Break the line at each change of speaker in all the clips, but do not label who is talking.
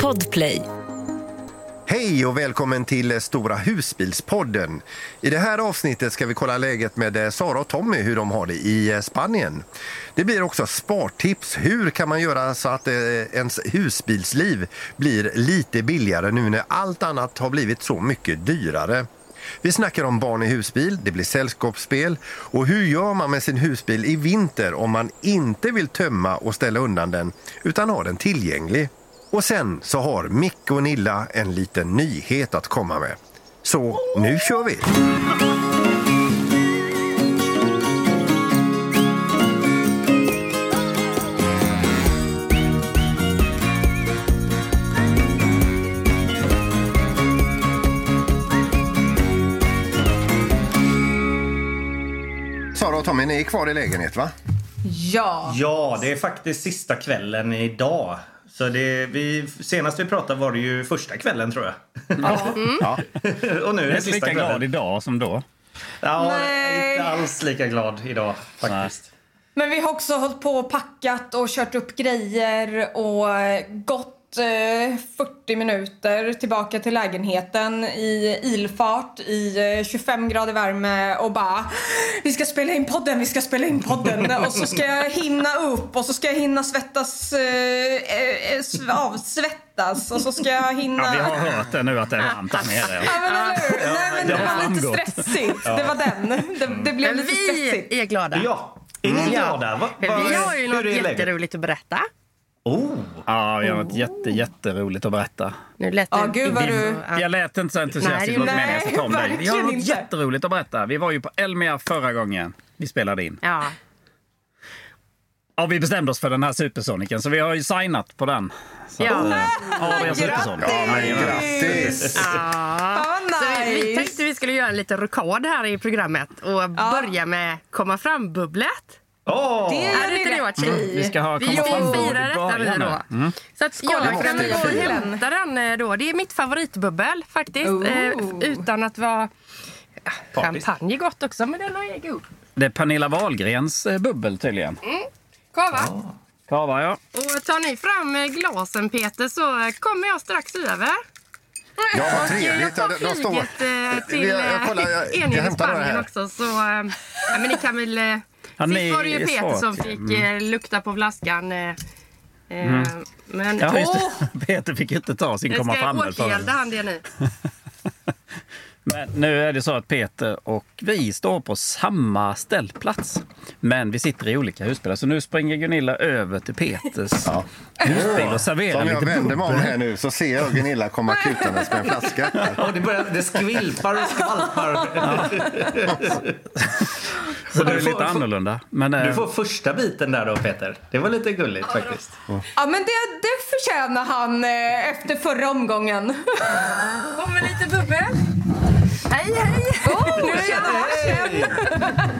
Podplay.
Hej och välkommen till Stora husbilspodden. I det här avsnittet ska vi kolla läget med eh, Sara och Tommy hur de har det i eh, Spanien. Det blir också spartips. Hur kan man göra så att eh, ens husbilsliv blir lite billigare nu när allt annat har blivit så mycket dyrare? Vi snackar om barn i husbil, det blir sällskapsspel och hur gör man med sin husbil i vinter om man inte vill tömma och ställa undan den utan har den tillgänglig? Och sen så har Micke och Nilla en liten nyhet att komma med. Så nu kör vi! Sara och Tommy, ni är kvar i lägenhet va?
Ja.
Ja, det är faktiskt sista kvällen idag. Så det, vi, senast vi pratade var det ju första kvällen tror jag.
Ja.
Och nu är det
Jag är inte
sista
lika glad
kvällen.
idag som då.
Ja,
Nej.
inte alls lika glad idag faktiskt.
Men vi har också hållit på och packat och kört upp grejer och gått eh, 40 minuter tillbaka till lägenheten i ilfart i eh, 25 grader värme och bara Vi ska spela in podden, vi ska spela in podden och så ska jag hinna upp och så ska jag hinna svettas, eh, eh, eh, sv- avsvettas och så ska jag hinna
Ja, vi har hört det nu att det är varmt där nere.
Ja, men eller hur? Nej, men
det
det
har
var lite
framgått.
stressigt. Det var den. Det, det
Men
blev lite stressigt.
vi är glada.
Ja, är ni glada? Va,
För
va-
vi har ju
hur
något
är läget?
jätteroligt att berätta.
Oh,
Ja, vi har något jätte, jätteroligt att berätta.
Nu lät det
Ja, gud, vad
inte-
du-
Ja.
Jag lät inte så entusiastisk,
Nej,
det var
nej,
meningen jag ska ta om dig. Vi har
verkligen
något
inte.
jätteroligt att berätta. Vi var ju på Elmia förra gången vi spelade in.
Ja.
Ja, vi bestämde oss för den här Supersonicen, så vi har ju signat på den. Så
Ja.
att, eh, Adrian Supersonic.
Grattis!
Ja, jajamän.
Grattis!
Fan vad
Så vi, vi
nice!
tänkte vi skulle göra en liten rockad här i programmet och börja med komma fram-bubblet.
oh.
Det
Hade
gör
inte det
ni
varit
rätt
kul?
i.
Mm, Vi ska ha
Vi
komma fram
firar detta
i
nu
början Mm.
då.
nu.
Så att jag kan
måste
gå och
vi
fira.
hämta den eh, då. Det är mitt favoritbubbel faktiskt.
Oh.
Eh, utan att vara... Ja,
Partisk.
Champagne är gott också, men den har jag god.
Det är Pernilla Wahlgrens eh, bubbel tydligen.
Mm. Kava.
Kava, ja.
Och tar ni fram eh, glasen Peter så eh, kommer jag strax över.
Ja, vad
Och, eh,
trevligt.
Jag tar
Ja, de- de står-
flyget eh, till
Jag- jag kollar, jag- jag
Enhjul i
hämtar några
Spanien
här.
också. Så, eh, ja, men ni kan väl... eh,
Ja, ni
Sist var det ju
är Mm.
Peter
svårt,
som
ja.
fick eh, lukta på flaskan. eh, eh, Men
Mm. Ja, just
åh!
det. Peter fick inte ta sin
Nu
komma
ska jag
fram här förrän.
återgälda han det nu.
Men nu är det så att Peter och vi står på samma ställplats. Men vi sitter i olika husbilar. Så nu springer Gunilla över till Peters husbil och serverar
Om jag
lite
vänder mig om
bubbel.
här nu så ser jag Gunilla komma kutandes med en flaska.
Ja, det, börjar, det skvilpar och skvalpar.
Så det är
Du får-
lite annorlunda. Men, eh,
Du får första biten där då Peter. Det var lite gulligt faktiskt.
Ja men det, det förtjänar han eh, efter förra omgången.
Kommer lite bubbel. Hej, hej! Oh, nu är jag här.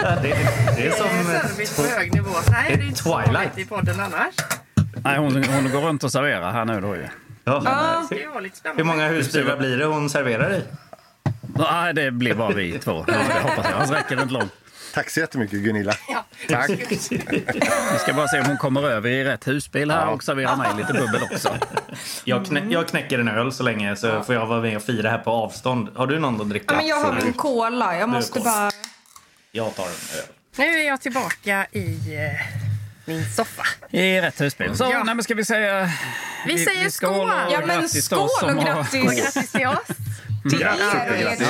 Ja, det, det är som...
Service på hög nivå. Nej, det är inte så
Twilight.
vanligt i podden annars.
nej, hon, hon går runt och serverar här nu då ju.
Ja.
Det var lite
Hur
spännande.
många husbilar blir det hon serverar i?
Nej, det blir bara vi två. Det hoppas jag. Annars räcker det inte långt.
Tack så jättemycket Gunilla. Tack.
Vi ska bara se om hon kommer över i rätt husbil här och serverar mig lite bubbel också.
Jag, knä,
Mm.
jag knäcker en öl så länge så får jag vara med och fira här på avstånd. Har du någon att dricka?
Ja, men jag har min
Absolut.
cola. Jag måste
cola.
bara...
Jag tar en öl.
Nu är jag tillbaka i eh, min soffa.
I rätt husbil. Så,
Ja.
nej, men ska vi säga...
Vi säger
skål
skål.
och
Ja men
grattis till
skål
oss som
och
har-
Och
grattis
grattis till oss.
till er och ert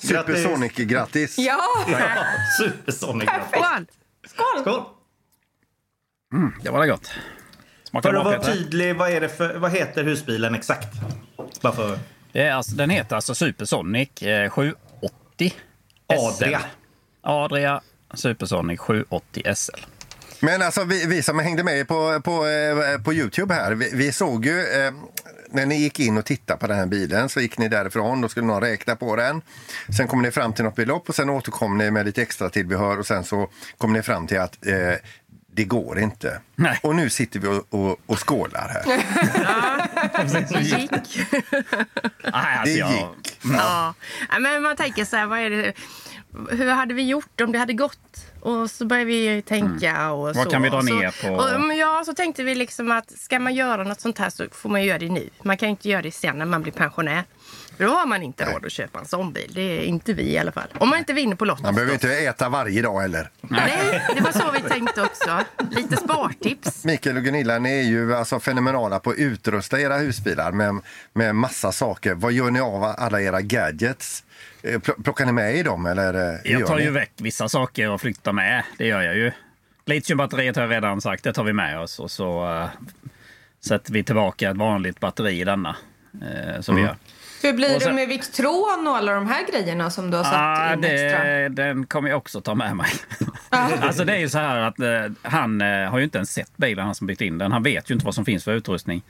köp!
Supersonic, grattis.
Ja,
Ja, Supersonic.
Skål!
skål!
Skål!
Det var det gott. Smakar
För att
bra,
vara
Peter.
tydlig, vad, är det för, vad heter husbilen exakt? Bara för
Det är alltså, den heter alltså Supersonic eh, 780 SL.
Adria.
Adria Supersonic 780 SL.
Men alltså vi, vi som hängde med på, på, eh, på Youtube här, vi, vi såg ju eh, när ni gick in och tittade på den här bilen så gick ni därifrån, då skulle någon räkna på den. Sen kom ni fram till något belopp och sen återkom ni med lite extra tillbehör och sen så kom ni fram till att eh, det går inte.
Nej.
Och nu sitter vi och, och, och skålar här.
Det gick.
Nej,
Det
alltså jag,
gick.
Ja. Ja, men man tänker så här, vad är det, hur hade vi gjort om det hade gått? Och så började vi tänka och så.
Mm. Vad kan vi dra
Och så,
ner på?
Och, men ja, så tänkte vi liksom att ska man göra något sånt här så får man göra det nu. Man kan ju inte göra det sen när man blir pensionär. För Då har man inte råd att köpa en sån bil. Det är inte vi i alla fall. Om man inte vinner på Lotto.
Man behöver
förstås.
inte äta varje dag heller.
Nej, det var så vi tänkte också. Lite spartips.
Mikael och Gunilla, ni är ju alltså fenomenala på att utrusta era husbilar med, med massa saker. Vad gör ni av alla era gadgets? Eh, pl- Plockar ni med i dem? Eller eh, hur
Jag
gör
tar
ni?
ju väck vissa saker och flyttar med. Det gör jag ju. Litiumbatteriet har jag redan sagt, det tar vi med oss. Och så eh, sätter vi tillbaka ett vanligt batteri i denna. eh, Som vi
Mm.
gör.
Hur blir
Och sen-
det med Victron och alla de här grejerna som du har satt
Ah,
in extra?
det, den kommer jag också ta med mig. alltså det är ju så här att eh, han eh, har ju inte ens sett bilen, han som byggt in den. Han vet ju inte vad som finns för utrustning.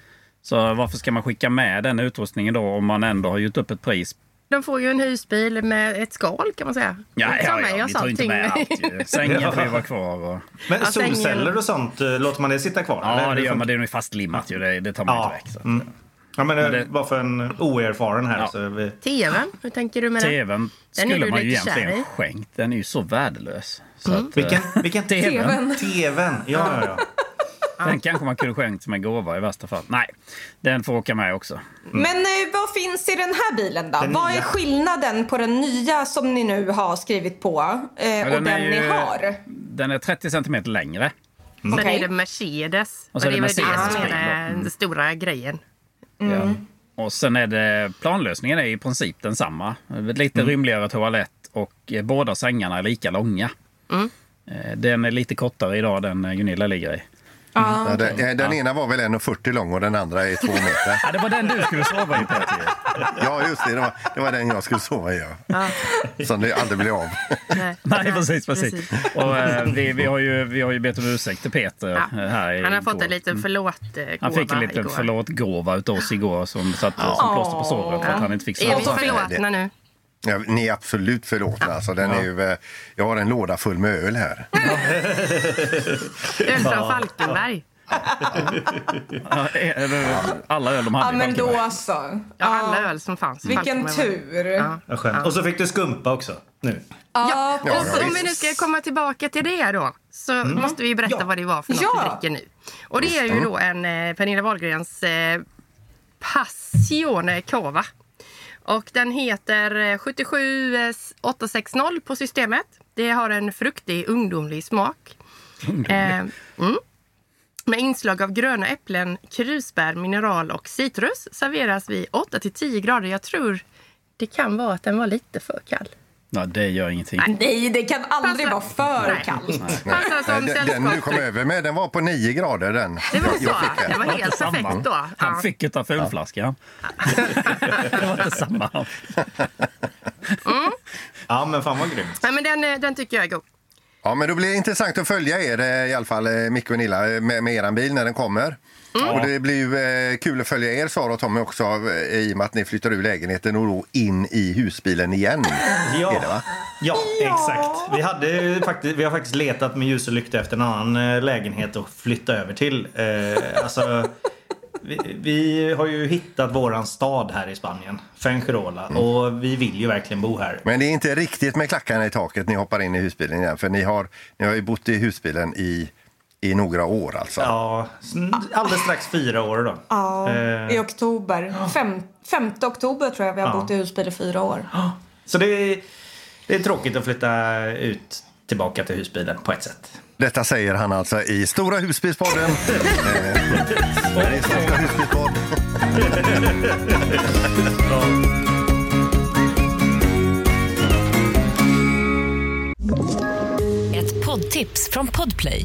Så varför ska man skicka med den utrustningen då om man ändå har gjort upp ett pris?
De får ju en husbil med ett skal kan man säga. Ta med oss
vi tar inte
allting.
med allt ju. Sängen får ju vara kvar. Och...
Men
Alltså, ingen-
solceller och sånt, eh, låter man det sitta kvar?
Ja,
eller?
det gör man. Det är nog fastlimmat ju. Det, det tar man
Ja.
inte väck. Så. att-
Mm. Ja, men,
det-
det... Bara för en oerfaren här.
Ja.
Så är vi...
TVn, hur tänker du med den?
TVn
Den är
skulle
du
man ju
lite kär
egentligen
i.
skänkt. Den är ju så värdelös. Så att, eh,
Vilken, vilken
TVn.
TVn. Ja, ja, ja.
Den kanske man kunde skänkt som en gåva i värsta fall. Nej, den får åka med också.
Men eh, vad finns i den här bilen då?
Den
vad
nya.
är skillnaden på den nya som ni nu har skrivit på eh, och den,
är
ni
ju-
har?
Den är 30 centimeter längre.
Sen
Okej.
är det Mercedes.
Och så är det
väl
Mercedes Mm.
som är
bil
den stora grejen.
Ja. Och sen är det planlösningen är i princip densamma. Lite rymligare toalett och eh, båda sängarna är lika långa. Eh, Den är lite kortare idag den eh, Gunilla ligger i.
Ja, den, eh, den ena var väl 1,40 lång och den andra är 2 meter.
Ja, det var den du skulle sova i Peter. ju.
Ja, just det. Det var, det var den jag skulle sova i. Ja. Som det aldrig blev av.
Nej,
Nej, precis. precis. Och, eh, vi, vi, har ju, vi har ju bett om ursäkt till Peter.
Ja.
eh, Här i-
Han har fått
igår. Mm.
en liten eh, förlåt-gåva
Han fick en liten förlåt-gåva utav oss igår som satt som plåster på såret för att han inte fick
Är vi
sova.
förlåtna nu?
Ja, ni är absolut förlåtna. Alltså, den är ju, eh, jag har en låda full med öl här.
Öl från Falkenberg.
Ja, eller Alla öl de
Ja,
hade
men
i banken.
då så.
Ja, alla öl som fanns. i
Vilken
Falkenberg.
tur.
Ja.
Vad skönt. Och så fick du skumpa också. Nu.
Ja,
Ja,
Så om vi nu ska komma tillbaka till det då, så måste vi berätta
Ja.
vad det var för något
Ja.
vi dricker nu. Och det är ju då en eh, Pernilla Wahlgrens eh, Passione Cava. Och den heter eh, 77860 på systemet. Det har en fruktig ungdomlig smak. Eh, mm. Med inslag av gröna äpplen, krusbär, mineral och citrus serveras vid 8-10 grader. Jag tror det kan vara att den var lite för kall.
Ja, det gör ingenting.
Nej, det kan aldrig vara
Alltså-
för
Nej.
kallt.
Passar som
den, den du kom
sällskapsdryck.
över med, den var på 9 grader den.
Det var så.
Jag fick
Det
en.
var helt perfekt då.
Han
Ja.
fick ju ta fulflaskan. det var inte samma.
Ja, men fan vad grymt.
Nej, men den, eh, den tycker jag är god.
Ja, men då blir det intressant att följa er eh, i alla fall, eh, Micke och Nilla, eh, med, med er bil när den kommer.
Mm.
Och det blir ju eh, kul att följa er Sara och Tommy också eh, i och med att ni flyttar ur lägenheten och då in i husbilen igen.
Ja.
Är det, va?
Ja, exakt. Vi, hade ju faktiskt, vi har faktiskt letat med ljus och lykta efter en annan eh, lägenhet att flytta över till. Eh, alltså, vi, vi har ju hittat våran stad här i Spanien, Fuengirola,
Mm.
och vi vill ju verkligen bo här.
Men det är inte riktigt med klackarna i taket ni hoppar in i husbilen igen för ni har, ni har ju bott i husbilen i, i några år alltså.
Ja, sn- alldeles strax fyra år då.
Ja,
Eh,
i oktober. Fem, 5 oktober tror jag vi har bott i husbil i fyra år.
Så det är, det är tråkigt att flytta ut tillbaka till husbilen på ett sätt.
Detta säger han alltså i Stora husbilspodden. Eh, det är Stora husbilspodd.
Ett poddtips från Podplay.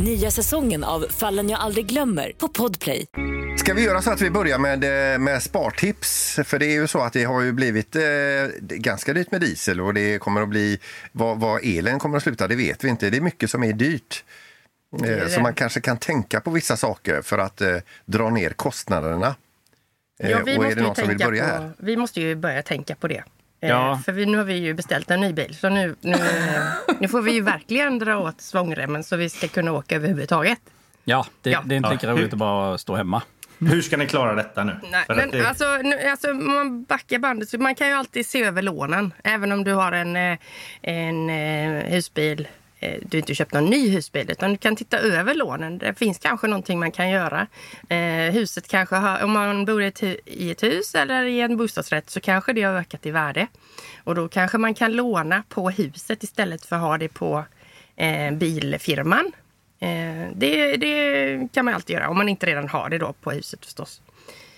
Nya säsongen av Fallen jag aldrig glömmer på Podplay.
Ska vi göra så att vi börjar med, eh, med spartips? För det är ju så att det har ju blivit eh, ganska dyrt med diesel och det kommer att bli vad, vad elen kommer att sluta, det vet vi inte. Det är mycket som är dyrt. Eh, Så man kanske kan tänka på vissa saker för att eh, dra ner kostnaderna. Eh,
Ja, vi,
och är
måste
det
ju
någon som vill
tänka
börja här?
på, vi måste ju börja tänka på det. Eh,
Ja.
För vi, nu har vi ju beställt en ny bil. Så nu, nu, eh, nu får vi ju verkligen dra åt svångremmen så vi ska kunna åka överhuvudtaget.
Ja, det,
Ja.
det är inte lika
Ja.
roligt att bara stå hemma.
Hur ska ni klara detta nu?
Mm. Nej,
För att
men
det-
alltså, nu, alltså, om man backar bandet. Så man kan ju alltid se över lånen. Även om du har en, eh, en eh, husbil. eh, Du har inte köpt någon ny husbil, utan du kan titta över lånen. Det finns kanske någonting man kan göra. Eh, huset kanske har, om man bor i ett, hu- i ett hus eller i en bostadsrätt så kanske det har ökat i värde. Och då kanske man kan låna på huset istället för att ha det på eh, bilfirman. Eh, det, det kan man alltid göra, om man inte redan har det då på huset förstås.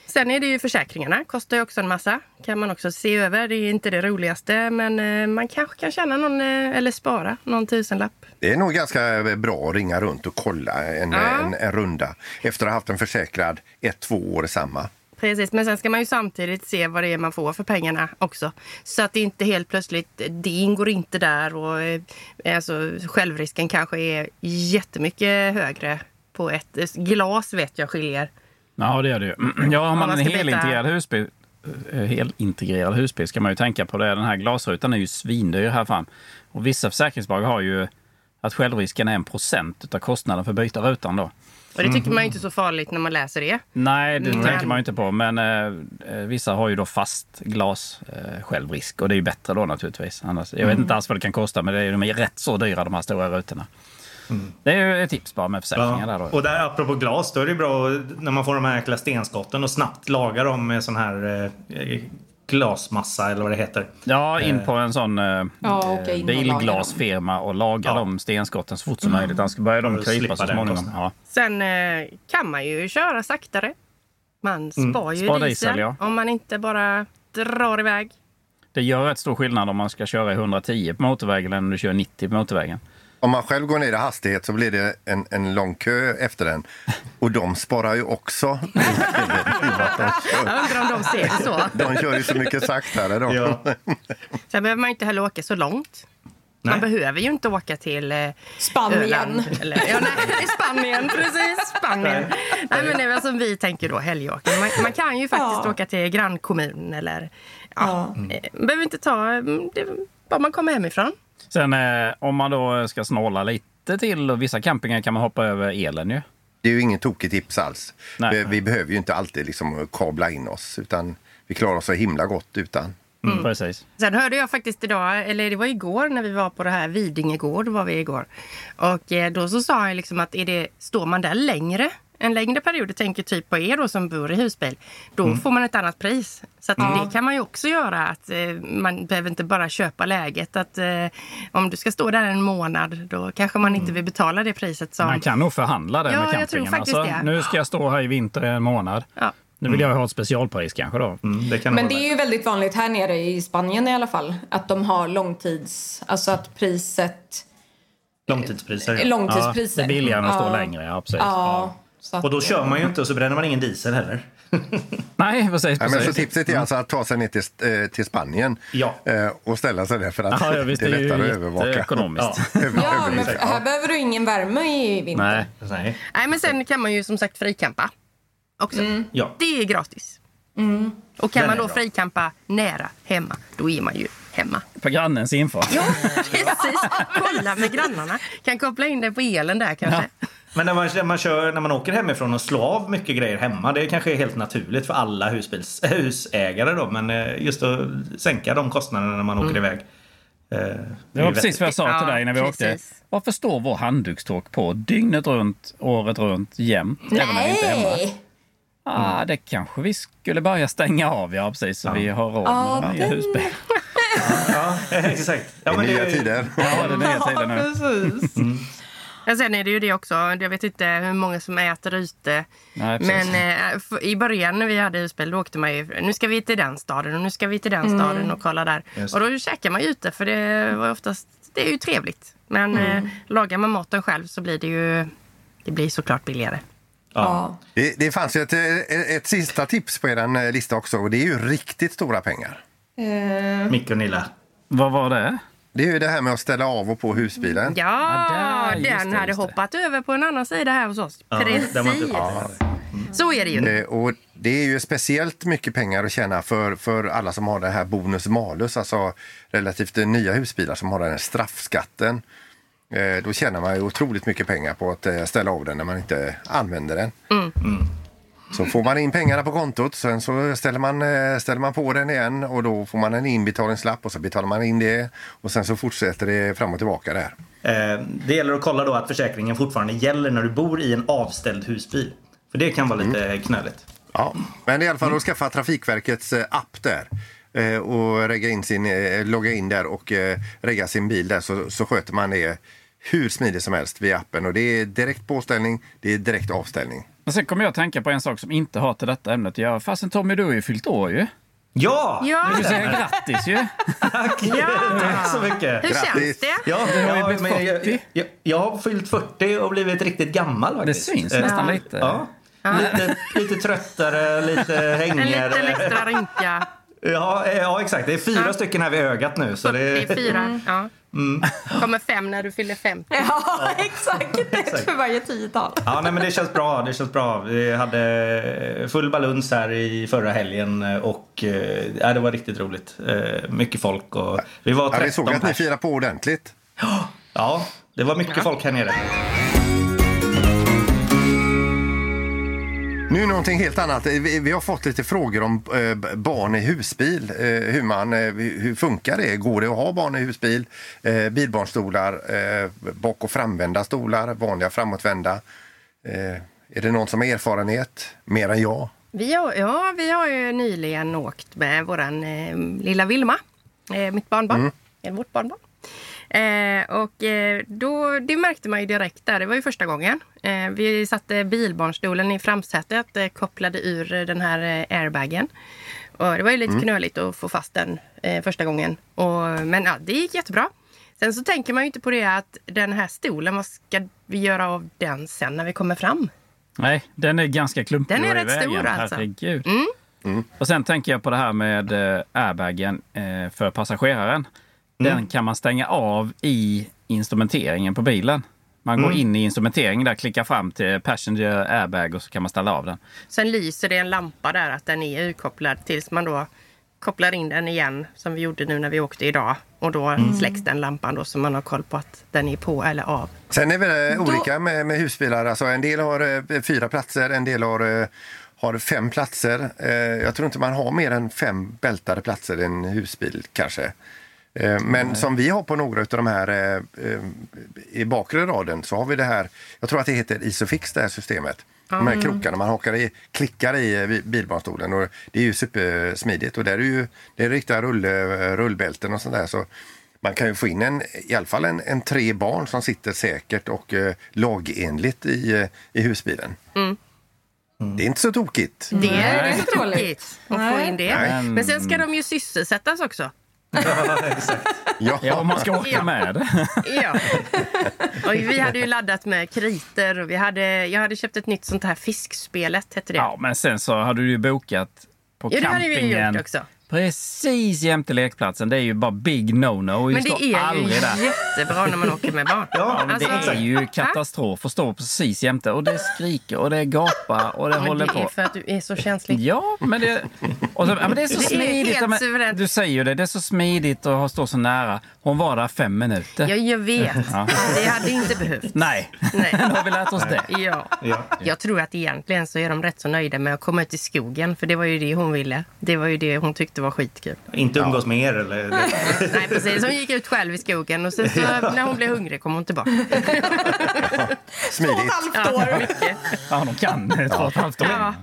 Sen är det ju försäkringarna, kostar ju också en massa. Kan man också se över, det är inte det roligaste men eh, man kanske kan tjäna någon, eh, eller spara någon tusenlapp.
Det är nog ganska eh, bra att ringa runt och kolla en,
Ja.
en, en runda efter att ha haft en försäkrad ett, två år samma.
Precis, men sen ska man ju samtidigt se vad det är man får för pengarna också. Så att det inte helt plötsligt, det ingår inte där och eh, alltså, självrisken kanske är jättemycket högre på ett eh, glas vet jag skiljer.
Ja, det gör det ju. Ja, har man,
man
en
ska byta-
helintegrerad husbil, eh, helintegrerad husbil ska man ju tänka på det. Den här glasrutan är ju svindyr här fram. Och vissa försäkringsbolag har ju att självrisken är en procent av kostnaden för att byta rutan då.
Och det tycker man ju inte är så farligt när man läser det.
Nej, det
Mm.
tänker man ju inte på. Men eh, eh, vissa har ju då fast glas eh, självrisk och det är ju bättre då naturligtvis. Annars, jag
Mm.
vet inte alls vad det kan kosta, men det är, de är rätt så dyra de här stora rutorna. Det är ju ett tips bara med försäkringar där då.
Mm. Och där apropå glas, då är det bra att- när man får de här jäkla stenskotten och snabbt laga dem med sån här eh, glasmassa eller vad det heter.
Ja, in på en sån eh,
Ja, åka in och laga
bilglasfirma och
Ja.
laga
Mm.
de stenskotten så fort som möjligt. Annars börjar
För
de
att
krypa
slippa
så
den
småningom.
kostnaden.
Ja.
Sen eh, kan man ju köra saktare. Man spar ju diesel,
Spar diesel, ja.
om man inte bara drar iväg.
Det gör rätt stor skillnad om man ska köra i 110 på motorvägen eller om du kör 90 på motorvägen.
Om man själv går ner i hastighet så blir det en, en lång kö efter den. Och de sparar ju också.
Jag undrar om de ser det så.
De kör ju så mycket saktare. De.
Ja.
Sen behöver man ju inte heller åka så långt. Man
Nej.
behöver ju inte åka till eh,
Spanien.
Öland. Eller, ja, nej, i Spanien, precis. Spanien. Nej, men det är väl som vi tänker då, helgåkning. Man, man kan ju faktiskt
Ja.
åka till grannkommun eller... Ja, eh, behöver inte ta... mm, Det, bara man kommer hemifrån.
Sen eh, om man då ska snåla lite till, och vissa campingar kan man hoppa över elen ju.
Det är ju inget tokigt tips alls.
Nej.
Vi, vi behöver ju inte alltid liksom kabla in oss. utan Vi klarar oss så himla gott utan.
Mm. Precis.
Sen hörde jag faktiskt idag, eller det var igår när vi var på det här Vidinge gård var vi igår. Och eh, då så sa jag liksom att är det, står man där längre, en längre period, jag tänker typ på er då som bor i husbil, då
Mm.
får man ett annat pris. Så att det kan man ju också göra, att eh, man behöver inte bara köpa läget. Att eh, om du ska stå där en månad, då kanske man inte vill betala det priset som...
Mm. Man kan nog förhandla det
Ja, jag
med campingen. Alltså,
tror faktiskt det.
nu ska jag stå här i vinter i en månad.
Ja.
Nu vill jag ha ett specialpris kanske då.
Mm, det kan
Men
vara
det är ju väldigt vanligt här nere i Spanien i alla fall att de har långtids... Alltså att priset...
långtidspriser.
Ja,
Långtidspriser.
det är billigare än att stå
Ja.
längre. Ja, precis.
Ja. Så att,
Och då kör man ju inte och så bränner man ingen diesel heller.
Nej, precis.
Nej, men så
precis.
tipset är alltså att ta sig ner till, eh, till Spanien
Ja.
eh, och ställa sig där för att
Ja, ja, visst,
det är lättare att
ju
övervaka.
jätteekonomiskt.
Ja.
Över-
Ja, men
övervaka.
här behöver du ingen värme i vinter.
Nej.
Nej.
Nej, men sen kan man ju som sagt frikampa också.
Mm.
Ja.
Det är gratis. Och kan
Den
man
är
då
bra.
frikampa nära hemma, då är man ju hemma.
På grannens infart.
Ja, precis. Kolla med grannarna. Kan koppla in det på elen där kanske.
Men när man, när man, kör, när man åker hemifrån och slår av mycket grejer hemma, det kanske är helt naturligt för alla husbils, husägare då, men eh, just att sänka de kostnaderna när man åker iväg. eh, är
Det var
ju
precis vad jag sa till
Ja,
dig när vi åkte.
precis.
Varför står vår handdukståg på dygnet runt, året runt, jämt? Även när vi inte är hemma? Ah,
Mm.
det kanske vi skulle börja stänga av, ja precis. Så vi har råd med
Ja,
varje
den-
husbil.
Ja, exakt. Ja,
I
men
nya
det-
tider.
Ja, det är nya tider nu.
Precis.
Men sen är det ju det också. Jag vet inte hur många som äter ute.
Nej, precis.
Men eh, f- i början när vi hade husbil då åkte man ju. Nu ska vi till den staden och nu ska vi till den staden och kolla där.
Just.
Och då käkar man ju ute för det var oftast. Det är ju trevligt. Men eh, lagar man maten själv så blir det ju. Det blir såklart billigare.
Ja.
Det, det fanns ju ett, eh, ett sista tips på er eh, lista också och det är ju riktigt stora pengar.
Eh,
Micke och Nilla.
Vad var det?
Det är ju det här med att ställa av och på husbilen.
Ja,
där, just
den
det,
hade
just det.
hoppat över på en annan sida här hos oss.
Ja,
Precis.
där man inte-
Ja.
Så är det ju.
Eh, Och det är ju speciellt mycket pengar att tjäna för, för alla som har det här bonus malus, alltså relativt nya husbilar som har den här straffskatten. Eh, Då tjänar man ju otroligt mycket pengar på att eh, ställa av den när man inte använder den. Så får man in pengarna på kontot, sen så ställer man, eh, ställer man på den igen och då får man en inbetalningslapp och så betalar man in det och sen så fortsätter det fram och tillbaka där.
Eh, Det gäller att kolla då att försäkringen fortfarande gäller när du bor i en avställd husbil. För det kan vara
Mm.
lite knöligt.
Ja, men i alla
Mm.
fall att skaffa Trafikverkets eh, app där eh, och regga in sin, eh, logga in där och eh, regga sin bil där så, så sköter man det hur smidigt som helst via appen. Och det är direkt påställning, det är direkt avställning.
Men sen kommer jag att tänka på en sak som inte har till detta ämnet att göra. Fasen Tommy, du har ju fyllt år ju.
Ja!
Du
Ja,
får säga grattis ju.
Tack! Tack så mycket!
hur
Grattis.
känns det?
Ja,
Du har ju
ja,
blivit
men jag,
40.
jag, jag, jag har fyllt 40 och blivit riktigt gammal
Det
faktiskt.
syns
Eh,
nästan lite.
Ja. Lite, lite tröttare, lite
En liten
hängigare.
extra rynka.
Ja, eh, ja, exakt. Det är fyra stycken här vid ögat nu. Så det,
Mm.
44. Ja. Kommer fem när du fyller 50.
Ja, exakt. Ett för varje tiotal.
Ja, nej, men det känns bra. Det känns bra. Vi hade full balans här i förra helgen och eh, ja, det var riktigt roligt. Eh, Mycket folk och vi var
Ja,
13
vi såg att ni
pers.
firar på ordentligt.
Ja, det var mycket folk här nere.
Nu någonting helt annat. Eh, Vi, vi har fått lite frågor om eh, b- barn i husbil. Eh, hur, man, eh, hur hur funkar det? Går det att ha barn i husbil? Eh, bilbarnstolar, eh, bak och framvända stolar, vanliga framåtvända. Eh, är det någon som har erfarenhet? Mer än jag?
Vi har, ja, vi har ju nyligen åkt med vår eh, lilla Vilma, eh, mitt barnbarn, eller vårt barnbarn. Eh, och eh, då, det märkte man ju direkt där, det var ju första gången. Eh, vi satte bilbarnstolen i framsätet, eh, kopplade ur eh, den här eh, airbagen. Och det var ju lite knöligt att få fast den eh, första gången. Och, men ja, det gick jättebra. Sen så tänker man ju inte på det att den här stolen, vad ska vi göra av den sen när vi kommer fram?
Nej, den är ganska klumpig.
Den är
och i
rätt stor
vägen.
alltså.
Herregud. Och sen tänker jag på det här med eh, airbagen eh, för passageraren. Den kan man stänga av i instrumenteringen på bilen. Man går in i instrumenteringen där, klickar fram till passenger airbag och så kan man ställa av den.
Sen lyser det en lampa där att den är urkopplad tills man då kopplar in den igen som vi gjorde nu när vi åkte idag. Och då
Mm.
släcks den lampan då så man har koll på att den är på eller av.
Sen är det eh, olika med, med husbilar. Alltså, en del har eh, fyra platser, en del har, eh, har fem platser. Eh, jag tror inte man har mer än fem bältade platser i en husbil kanske. Eh, men som vi har på några av de här eh, eh, i bakre raden så har vi det här, jag tror att det heter Isofix det här systemet. De här krokarna man hakar i, klickar i eh, bi- bilbarnstolen och det är ju supersmidigt och där är ju det är riktiga rull, rullbälten och sånt där. Så man kan ju få in en, i alla fall en, en tre barn som sitter säkert och eh, lagenligt i, eh, i husbilen. Det är inte så tokigt.
Det är
Nej.
inte så tråkigt att få in det.
Nej.
Men sen ska de ju sysselsättas också.
Ja.
Ja, om man ska åka
Ja.
med det.
Ja. Och vi hade ju laddat med kriter och vi hade, jag hade köpt ett nytt sånt här fiskspelet, hette det.
Ja, men sen så har du ju bokat på
Ja, det hade vi ju
campingen.
gjort också.
Precis jämte lekplatsen. Det är ju bara big no-no.
Men det
Stå
är ju Alltså,
aldrig där.
jättebra när man åker med barn.
Ja,
Ja, men
Alltså-
det är ju katastrof att stå precis jämte och det skriker och det gapar och det
Ah. Men
håller
det är
på.
för att du är så känslig.
Ja, men det, och så, ja, men det är så
Det är
smidigt.
helt
Ja, men
suveränt.
du säger ju det, det är så smidigt att ha- stå så nära. Hon var där fem minuter.
Ja, jag vet.
Ja.
Det hade inte behövt.
Nej,
Nej.
nu har vi lärt oss det.
Ja.
Ja.
Jag tror att egentligen så är de rätt så nöjda med att komma ut i skogen, för det var ju det hon ville. Det var ju det hon tyckte var skitkul.
Inte umgås med er eller...
Nej, precis. Hon gick ut själv i skogen och sen så, när hon blev hungrig kom hon tillbaka.
Två och ett
Smidigt.
halvt år.
Mycket.
Ja, de kan det. Två och ett halvt år.
Ja.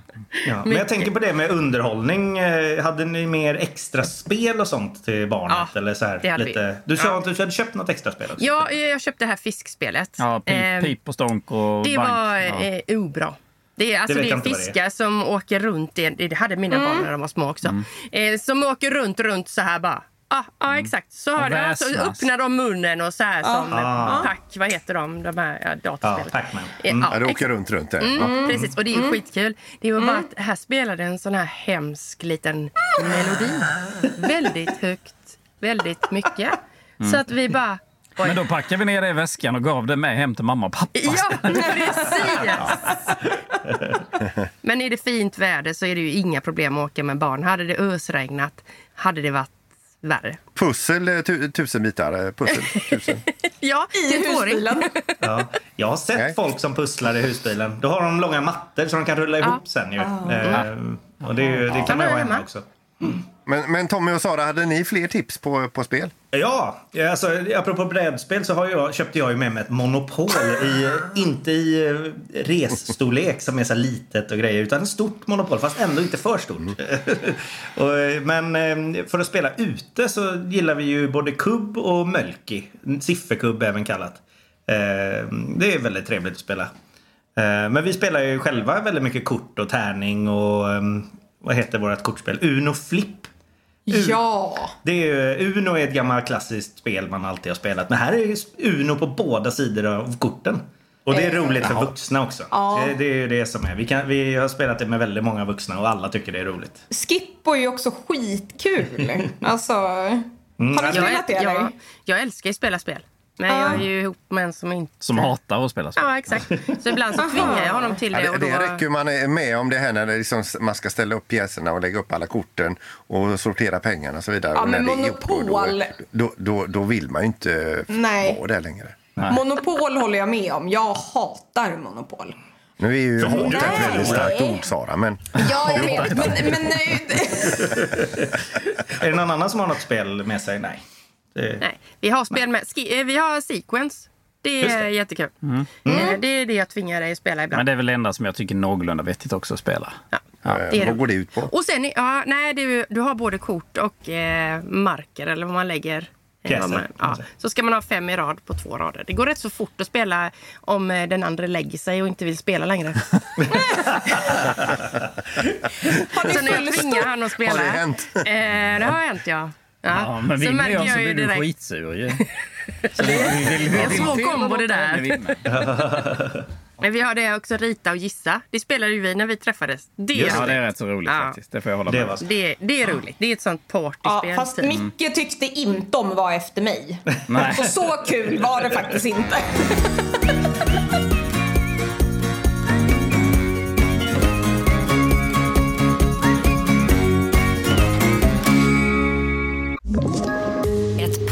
Ja. Men jag tänker på det med underhållning. Eh, Hade ni mer extra spel och sånt till barnet?
Ja,
eller så här,
det hade
lite...
vi.
Du sa
Ja.
att du hade köpt något extra spel också?
Ja, jag köpte det här fiskspelet.
Ja,
Eh,
pip, pip och stånk och
Det
bank.
var
ja.
eh, obra. Det är, alltså,
Det
det
vet
är
jag inte vad det är.
fiskar
Mm.
som åker runt, i- det hade mina barn när de var små också, eh, som åker runt, runt så här bara. Ja, ah, ah,
Mm.
exakt. Så, har det, så
väsnas.
öppnar de munnen och så här som ah. pack, vad heter de, de här ja,
Ja,
dataspelen?
Pac-Man.
Eh,
Mm.
Ja,
Ja,
du åker
exakt.
runt runt där. Ja.
Mm, precis, och det är ju skitkul. Det var bara att här spelade en sån här hemsk liten
Mm.
melodi. Väldigt högt, väldigt mycket. Så att vi bara,
Men då packade vi ner det i väskan och gav det med hem till mamma och pappa.
Ja, precis! Men är det fint väder så är det ju inga problem att åka med barn. Hade det ösregnat hade det varit värre.
Pussel, eh, tu, tusen bitar. eh, Pussel, tusen.
Ja,
I
till tvååring.
husbilen.
Ja. Jag har sett
Nej.
folk som pusslar i husbilen. Då har de långa mattor så de kan rulla ihop sen ju. Ehm, och det, är ju- det kan man
Ah. man
ju ha
göra
hemma
hemma?
också.
Men, men Tommy och Sara, hade ni fler tips på, på spel?
Ja, alltså, apropå brädspel så har jag, köpte jag ju med mig ett monopol. I, inte i eh, resstorlek som är så här litet och grejer utan ett stort monopol fast ändå inte för stort. och, eh, men eh, för att spela ute så gillar vi ju både kubb och mölki. Sifferkubb även kallat. Eh, Det är väldigt trevligt att spela. Eh, Men vi spelar ju själva väldigt mycket kort och tärning och eh, vad heter vårt kortspel? Uno Flip.
Ja!
Det är ju, Uno är ett gammalt klassiskt spel man alltid har spelat. Men här är ju Uno på båda sidor av korten. Och det är roligt för vuxna också.
Ja.
Det, det är ju det som är. Vi, kan, vi har spelat det med väldigt många vuxna och alla tycker det är roligt.
Skippo är ju också skitkul. Alltså, har ni
Jag,
spelat det eller?
jag, jag älskar ju att spela spel. Men jag är ju ihop med en som inte...
Som hatar att spela spel.
Ja, exakt. Så ibland så tvingar jag honom till
Ja,
det.
det,
Och då...
det räcker ju man är med om det här när det liksom, man ska ställa upp pjäserna och lägga upp alla korten och sortera pengarna och så vidare.
Ja,
och när
men
det är ihop,
monopol.
Då, då, då, då vill man ju inte
Nej.
vara där längre.
Monopol håller jag med om. Jag hatar monopol.
Nu är ju hat
Nej.
ett väldigt starkt ord, Sara. Men
Ja, jag vet. Men, men nej,
Är det någon annan som har något spel med sig? Nej. Det,
Nej, vi har spel med... Ski... eh, Vi har Sequence. Det
Just
är
det.
jättekul. Eh, Det är det jag tvingar dig att spela ibland.
Men det är väl det enda som jag tycker är någorlunda vettigt också att spela.
eh,
det är
vad
det.
går det ut på?
Och sen, är- ja, nej, du, du har både kort och eh, marker eller vad man lägger. eh,
Pjäser,
vad man-
kan man
Ja,
säga.
så ska man ha fem i rad på två rader. Det går rätt så fort att spela om eh, den andra lägger sig och inte vill spela längre.
har ni
Så när jag
full
tvingar han att spela.
Har det hänt?
Eh, det har hänt ja. Ja,
Ja, men alltså,
så
vinner
märker
jag så
jag ju
blir du
direkt.
skitsur ju. Så det är- vi vill- vi
Det är en
vill
svår
till
kombo
och
det
låta
där.
henne vinna.
Men vi har det också, rita och gissa. Det spelade ju vi när vi träffades. Det,
Just
Ja,
är
det
roligt.
är rätt så roligt
Ja.
faktiskt. Det får jag hålla
det
med
var
om.
så.
det, det är roligt. Det är ett sånt
Ja,
partyspel.
fast
typ.
Micke tyckte inte om var efter mig.
Nej.
Och så kul var det faktiskt inte.
Ett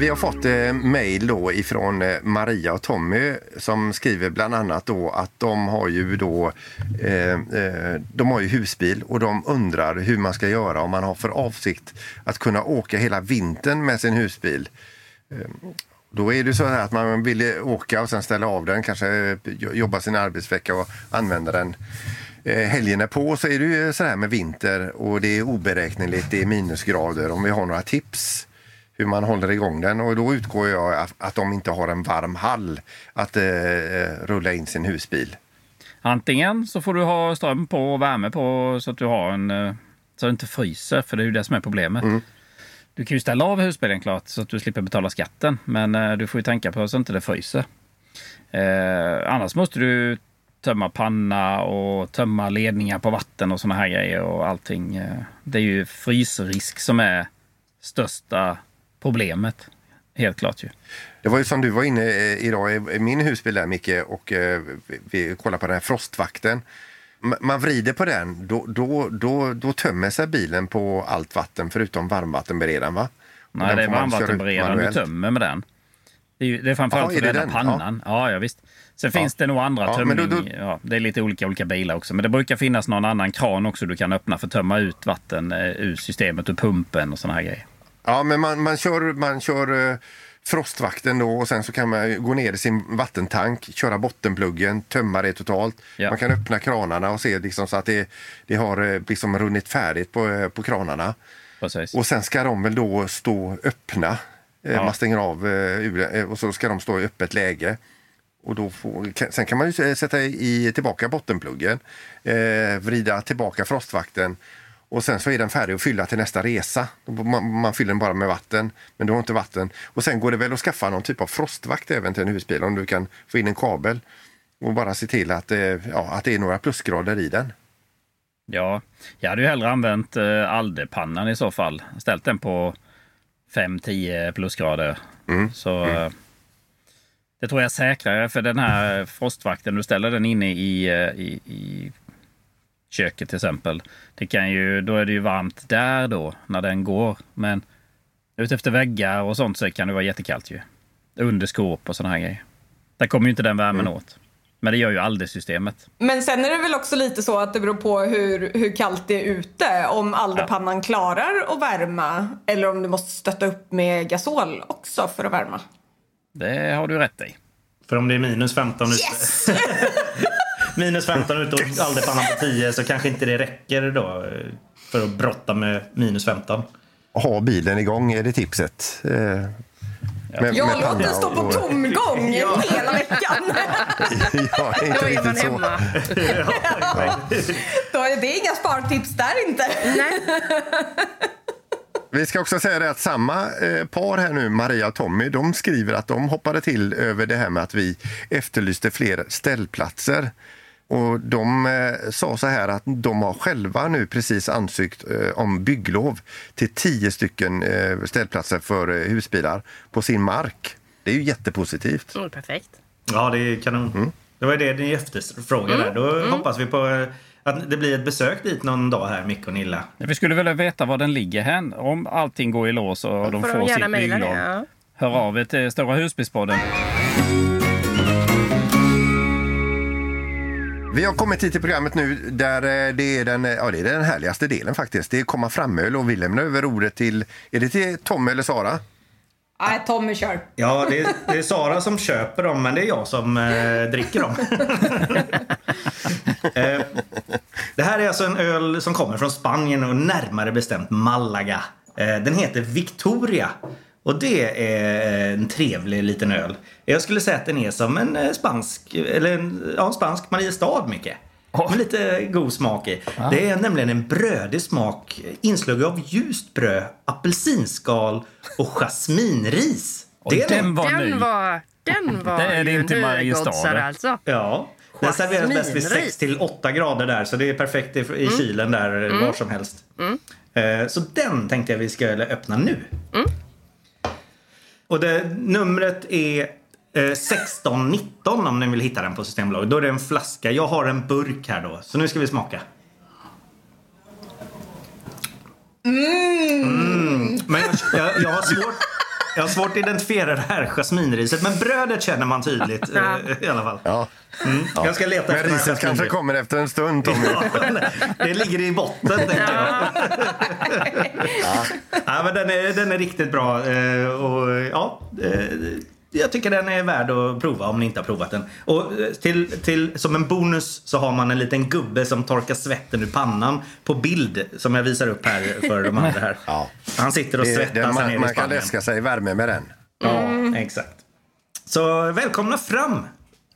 Vi har fått eh, mejl då ifrån eh, Maria och Tommy som skriver bland annat då att de har ju då eh, eh, de har ju husbil och de undrar hur man ska göra om man har för avsikt att kunna åka hela vintern med sin husbil. Eh, Då är det så här att man vill eh, åka och sen ställa av den, kanske eh, jo- jobba sin arbetsvecka och använda den Eh, helgen är på så är det ju så här med vinter och det är oberäkneligt, det är minusgrader. Om vi har några tips hur man håller igång den och då utgår jag att, att de inte har en varm hall att eh, eh, rulla in sin husbil.
Antingen så får du ha ström på och värme på så att du har en... eh, Så att du inte fryser, för det är ju det som är problemet. Du kan ju ställa av husbilen klart så att du slipper betala skatten. Men eh, du får ju tänka på så att inte det fryser. Eh, annars måste du tömma panna och tömma ledningar på vatten och såna här grejer och allting. eh. Det är ju frysrisk som är största problemet. Helt klart ju.
Det var ju som du var inne eh, idag i i min husbil där Micke och eh, vi- vi kollade på den här frostvakten. M- Man vrider på den, då, då, då, då tömmer sig bilen på allt vatten förutom varmvattenberedaren va? Och
Nej,
den
det är
får man köra ut
varmvattenberedaren du
manuellt.
tömmer med den. Det är, ju, det är framförallt
Jaha,
för
är
att
det
rädda
den? Ja.
pannan. Ja. ja, visst. Sen finns det nog andra
Ja, men
tömning.
då- då-
Ja, det är lite olika olika bilar också. Men det brukar finnas någon annan kran också du kan öppna för att tömma ut vatten eh, ur systemet och pumpen och såna här grejer.
Ja, men man, man kör, man kör eh, frostvakten då och sen så kan man ju gå ner i sin vattentank, köra bottenpluggen, tömma det totalt.
Ja.
Man kan öppna kranarna och se liksom så att det, det har eh, liksom runnit färdigt på, eh, på kranarna.
Precis.
Och sen ska de väl då stå öppna Eh, Man stänger av eh, ur- eh, och så ska de stå i öppet läge. Och då får, kan- sen kan man ju s- eh, sätta i, tillbaka bottenpluggen, eh, vrida tillbaka frostvakten och sen så är den färdig att fylla till nästa resa. Man, man fyller den bara med vatten, men du har inte vatten. Och sen går det väl att skaffa någon typ av frostvakt även till en husbil om du kan få in en kabel och bara se till att, eh, ja, att det är några plusgrader i den.
Ja, jag hade ju hellre använt eh, aldepannan i så fall. Ställt den på 5-10 plusgrader. Så eh, det tror jag är säkrare för den här frostvakten. Du ställer den inne i, eh, i, i köket till exempel. Det kan ju, då är det ju varmt där då när den går. Men ute efter väggar och sånt så kan det vara jättekallt ju. Under skåp och såna här grejer. Där kommer ju inte den värmen åt. Men det gör ju aldersystemet.
Men sen är det väl också lite så att det beror på hur, hur kallt det är ute. Om aldepannan klarar att värma eller om du måste stötta upp med gasol också för att värma.
Det har du rätt i.
För om det är minus 15 yes! ute. minus 15 ute och aldepannan på 10 så kanske inte det räcker då eh, för att brotta med minus 15.
Ha bilen igång är det tipset. Eh, med- med
Jag
panna
låter den stå på
och-
tomgång hela veckan.
Ja, inte
Då är man
riktigt så.
hemma.
Då är det inga spartips där inte.
Vi ska också säga det att samma eh, par här nu, Maria och Tommy, de skriver att de hoppade till över det här med att vi efterlyste fler ställplatser. Och de eh, sa så här att de har själva nu precis ansökt eh, om bygglov till tio stycken eh, ställplatser för eh, husbilar på sin mark. Det är ju jättepositivt.
Mm, perfekt.
Ja, det är kanon. Det var ju det ni efterfrågade. Då hoppas vi på eh, att det blir ett besök dit någon dag här, Micke och Nilla.
Vi skulle vilja veta var den ligger hän. Om allting går i lås och de
Får
får,
de gärna
sitt
mejla det,
bygglov.
ja.
Hör av er till Stora Husbilspodden.
Vi har kommit hit till programmet nu där eh, det är den, ja, det är den härligaste delen faktiskt. Det är komma framöl och vi lämnar över ordet till, är det till Tommy eller Sara?
Nej, Tommy kör.
Ja, det är, det är Sara som köper dem, men det är jag som eh, dricker dem. eh, det här är alltså en öl som kommer från Spanien och närmare bestämt Malaga. Eh, den heter Victoria och det är eh, en trevlig liten öl. Jag skulle säga att den är som en eh, spansk, eller en, ja, en spansk Mariestad, Micke. Med lite god smak i. Det är nämligen en brödig smak, inslag av ljust bröd, apelsinskal och jasminris.
Och
är nog-
den var ny.
Den var, den var
Det är det
ju
inte
en
Mariestad,
högoddsare,
det.
alltså.
Ja. Den serveras bäst vid
Jasminris.
6 till 8 grader där så det är perfekt i, i kylen där var som helst. Eh, Så den tänkte jag vi ska öppna nu. Och det, numret är eh, 1619 om ni vill hitta den på Systembolaget. Då är det en flaska. Jag har en burk här då. Så nu ska vi smaka. Mm. Men jag, jag, jag har svårt... Jag har svårt att identifiera det här jasminriset, men brödet känner man tydligt eh, i alla fall.
Ja.
Mm. Jag ska leta
Men
efter den här
riset kanske
jasminbulken.
kommer efter en stund, Tommy.
Det ligger i botten, tänker jag. ja, men den, är, den är riktigt bra. eh, Och, ja, eh, jag tycker den är värd att prova om ni inte har provat den. Och eh, till, till, som en bonus så har man en liten gubbe som torkar svetten ur pannan på bild som jag visar upp här för de andra här.
Ja.
Han sitter och
Det-
svettas
den,
här nere
man,
i
man kan
Spanien.
läska sig i värme med den. Mm,
Ja, exakt. Så välkomna fram!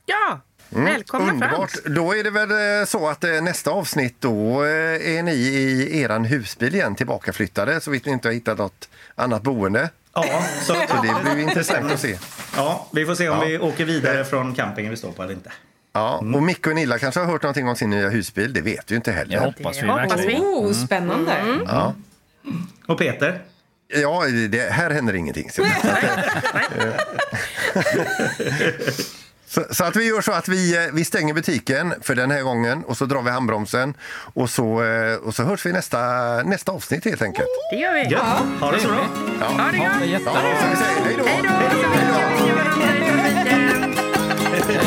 Ja,
Mm,
välkomna fram.
Underbart. Då är det väl eh, så att eh, nästa avsnitt då eh, är ni i eran husbil igen tillbakaflyttade så vitt ni inte har hittat något annat boende.
Ja, så,
Så det blir ju intressant att se.
ja, vi får se om
Ja. Eh.
vi åker vidare från campingen vi står på eller inte.
Ja, och Micke och Nilla kanske har hört någonting om sin nya husbil. Det vet vi ju inte
Jag
heller.
hoppas vi
Det hoppas
verkligen.
Oh, spännande.
Ja.
Och Peter?
Ja, det, här händer ingenting. Så, så, så att vi gör så att vi, eh, vi stänger butiken för den här gången och så drar vi handbromsen och så, eh, och så hörs vi nästa, nästa avsnitt helt enkelt.
Det gör vi.
Ja, ha det så bra!
Ha det
Ja, det är
gott!
Ja,
jättebra.
så vi säger hej då!
Hej då! Så mycket älskar varandra i trafiken.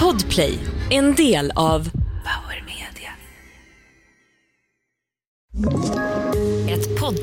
Podplay, en del av Power Media. Ett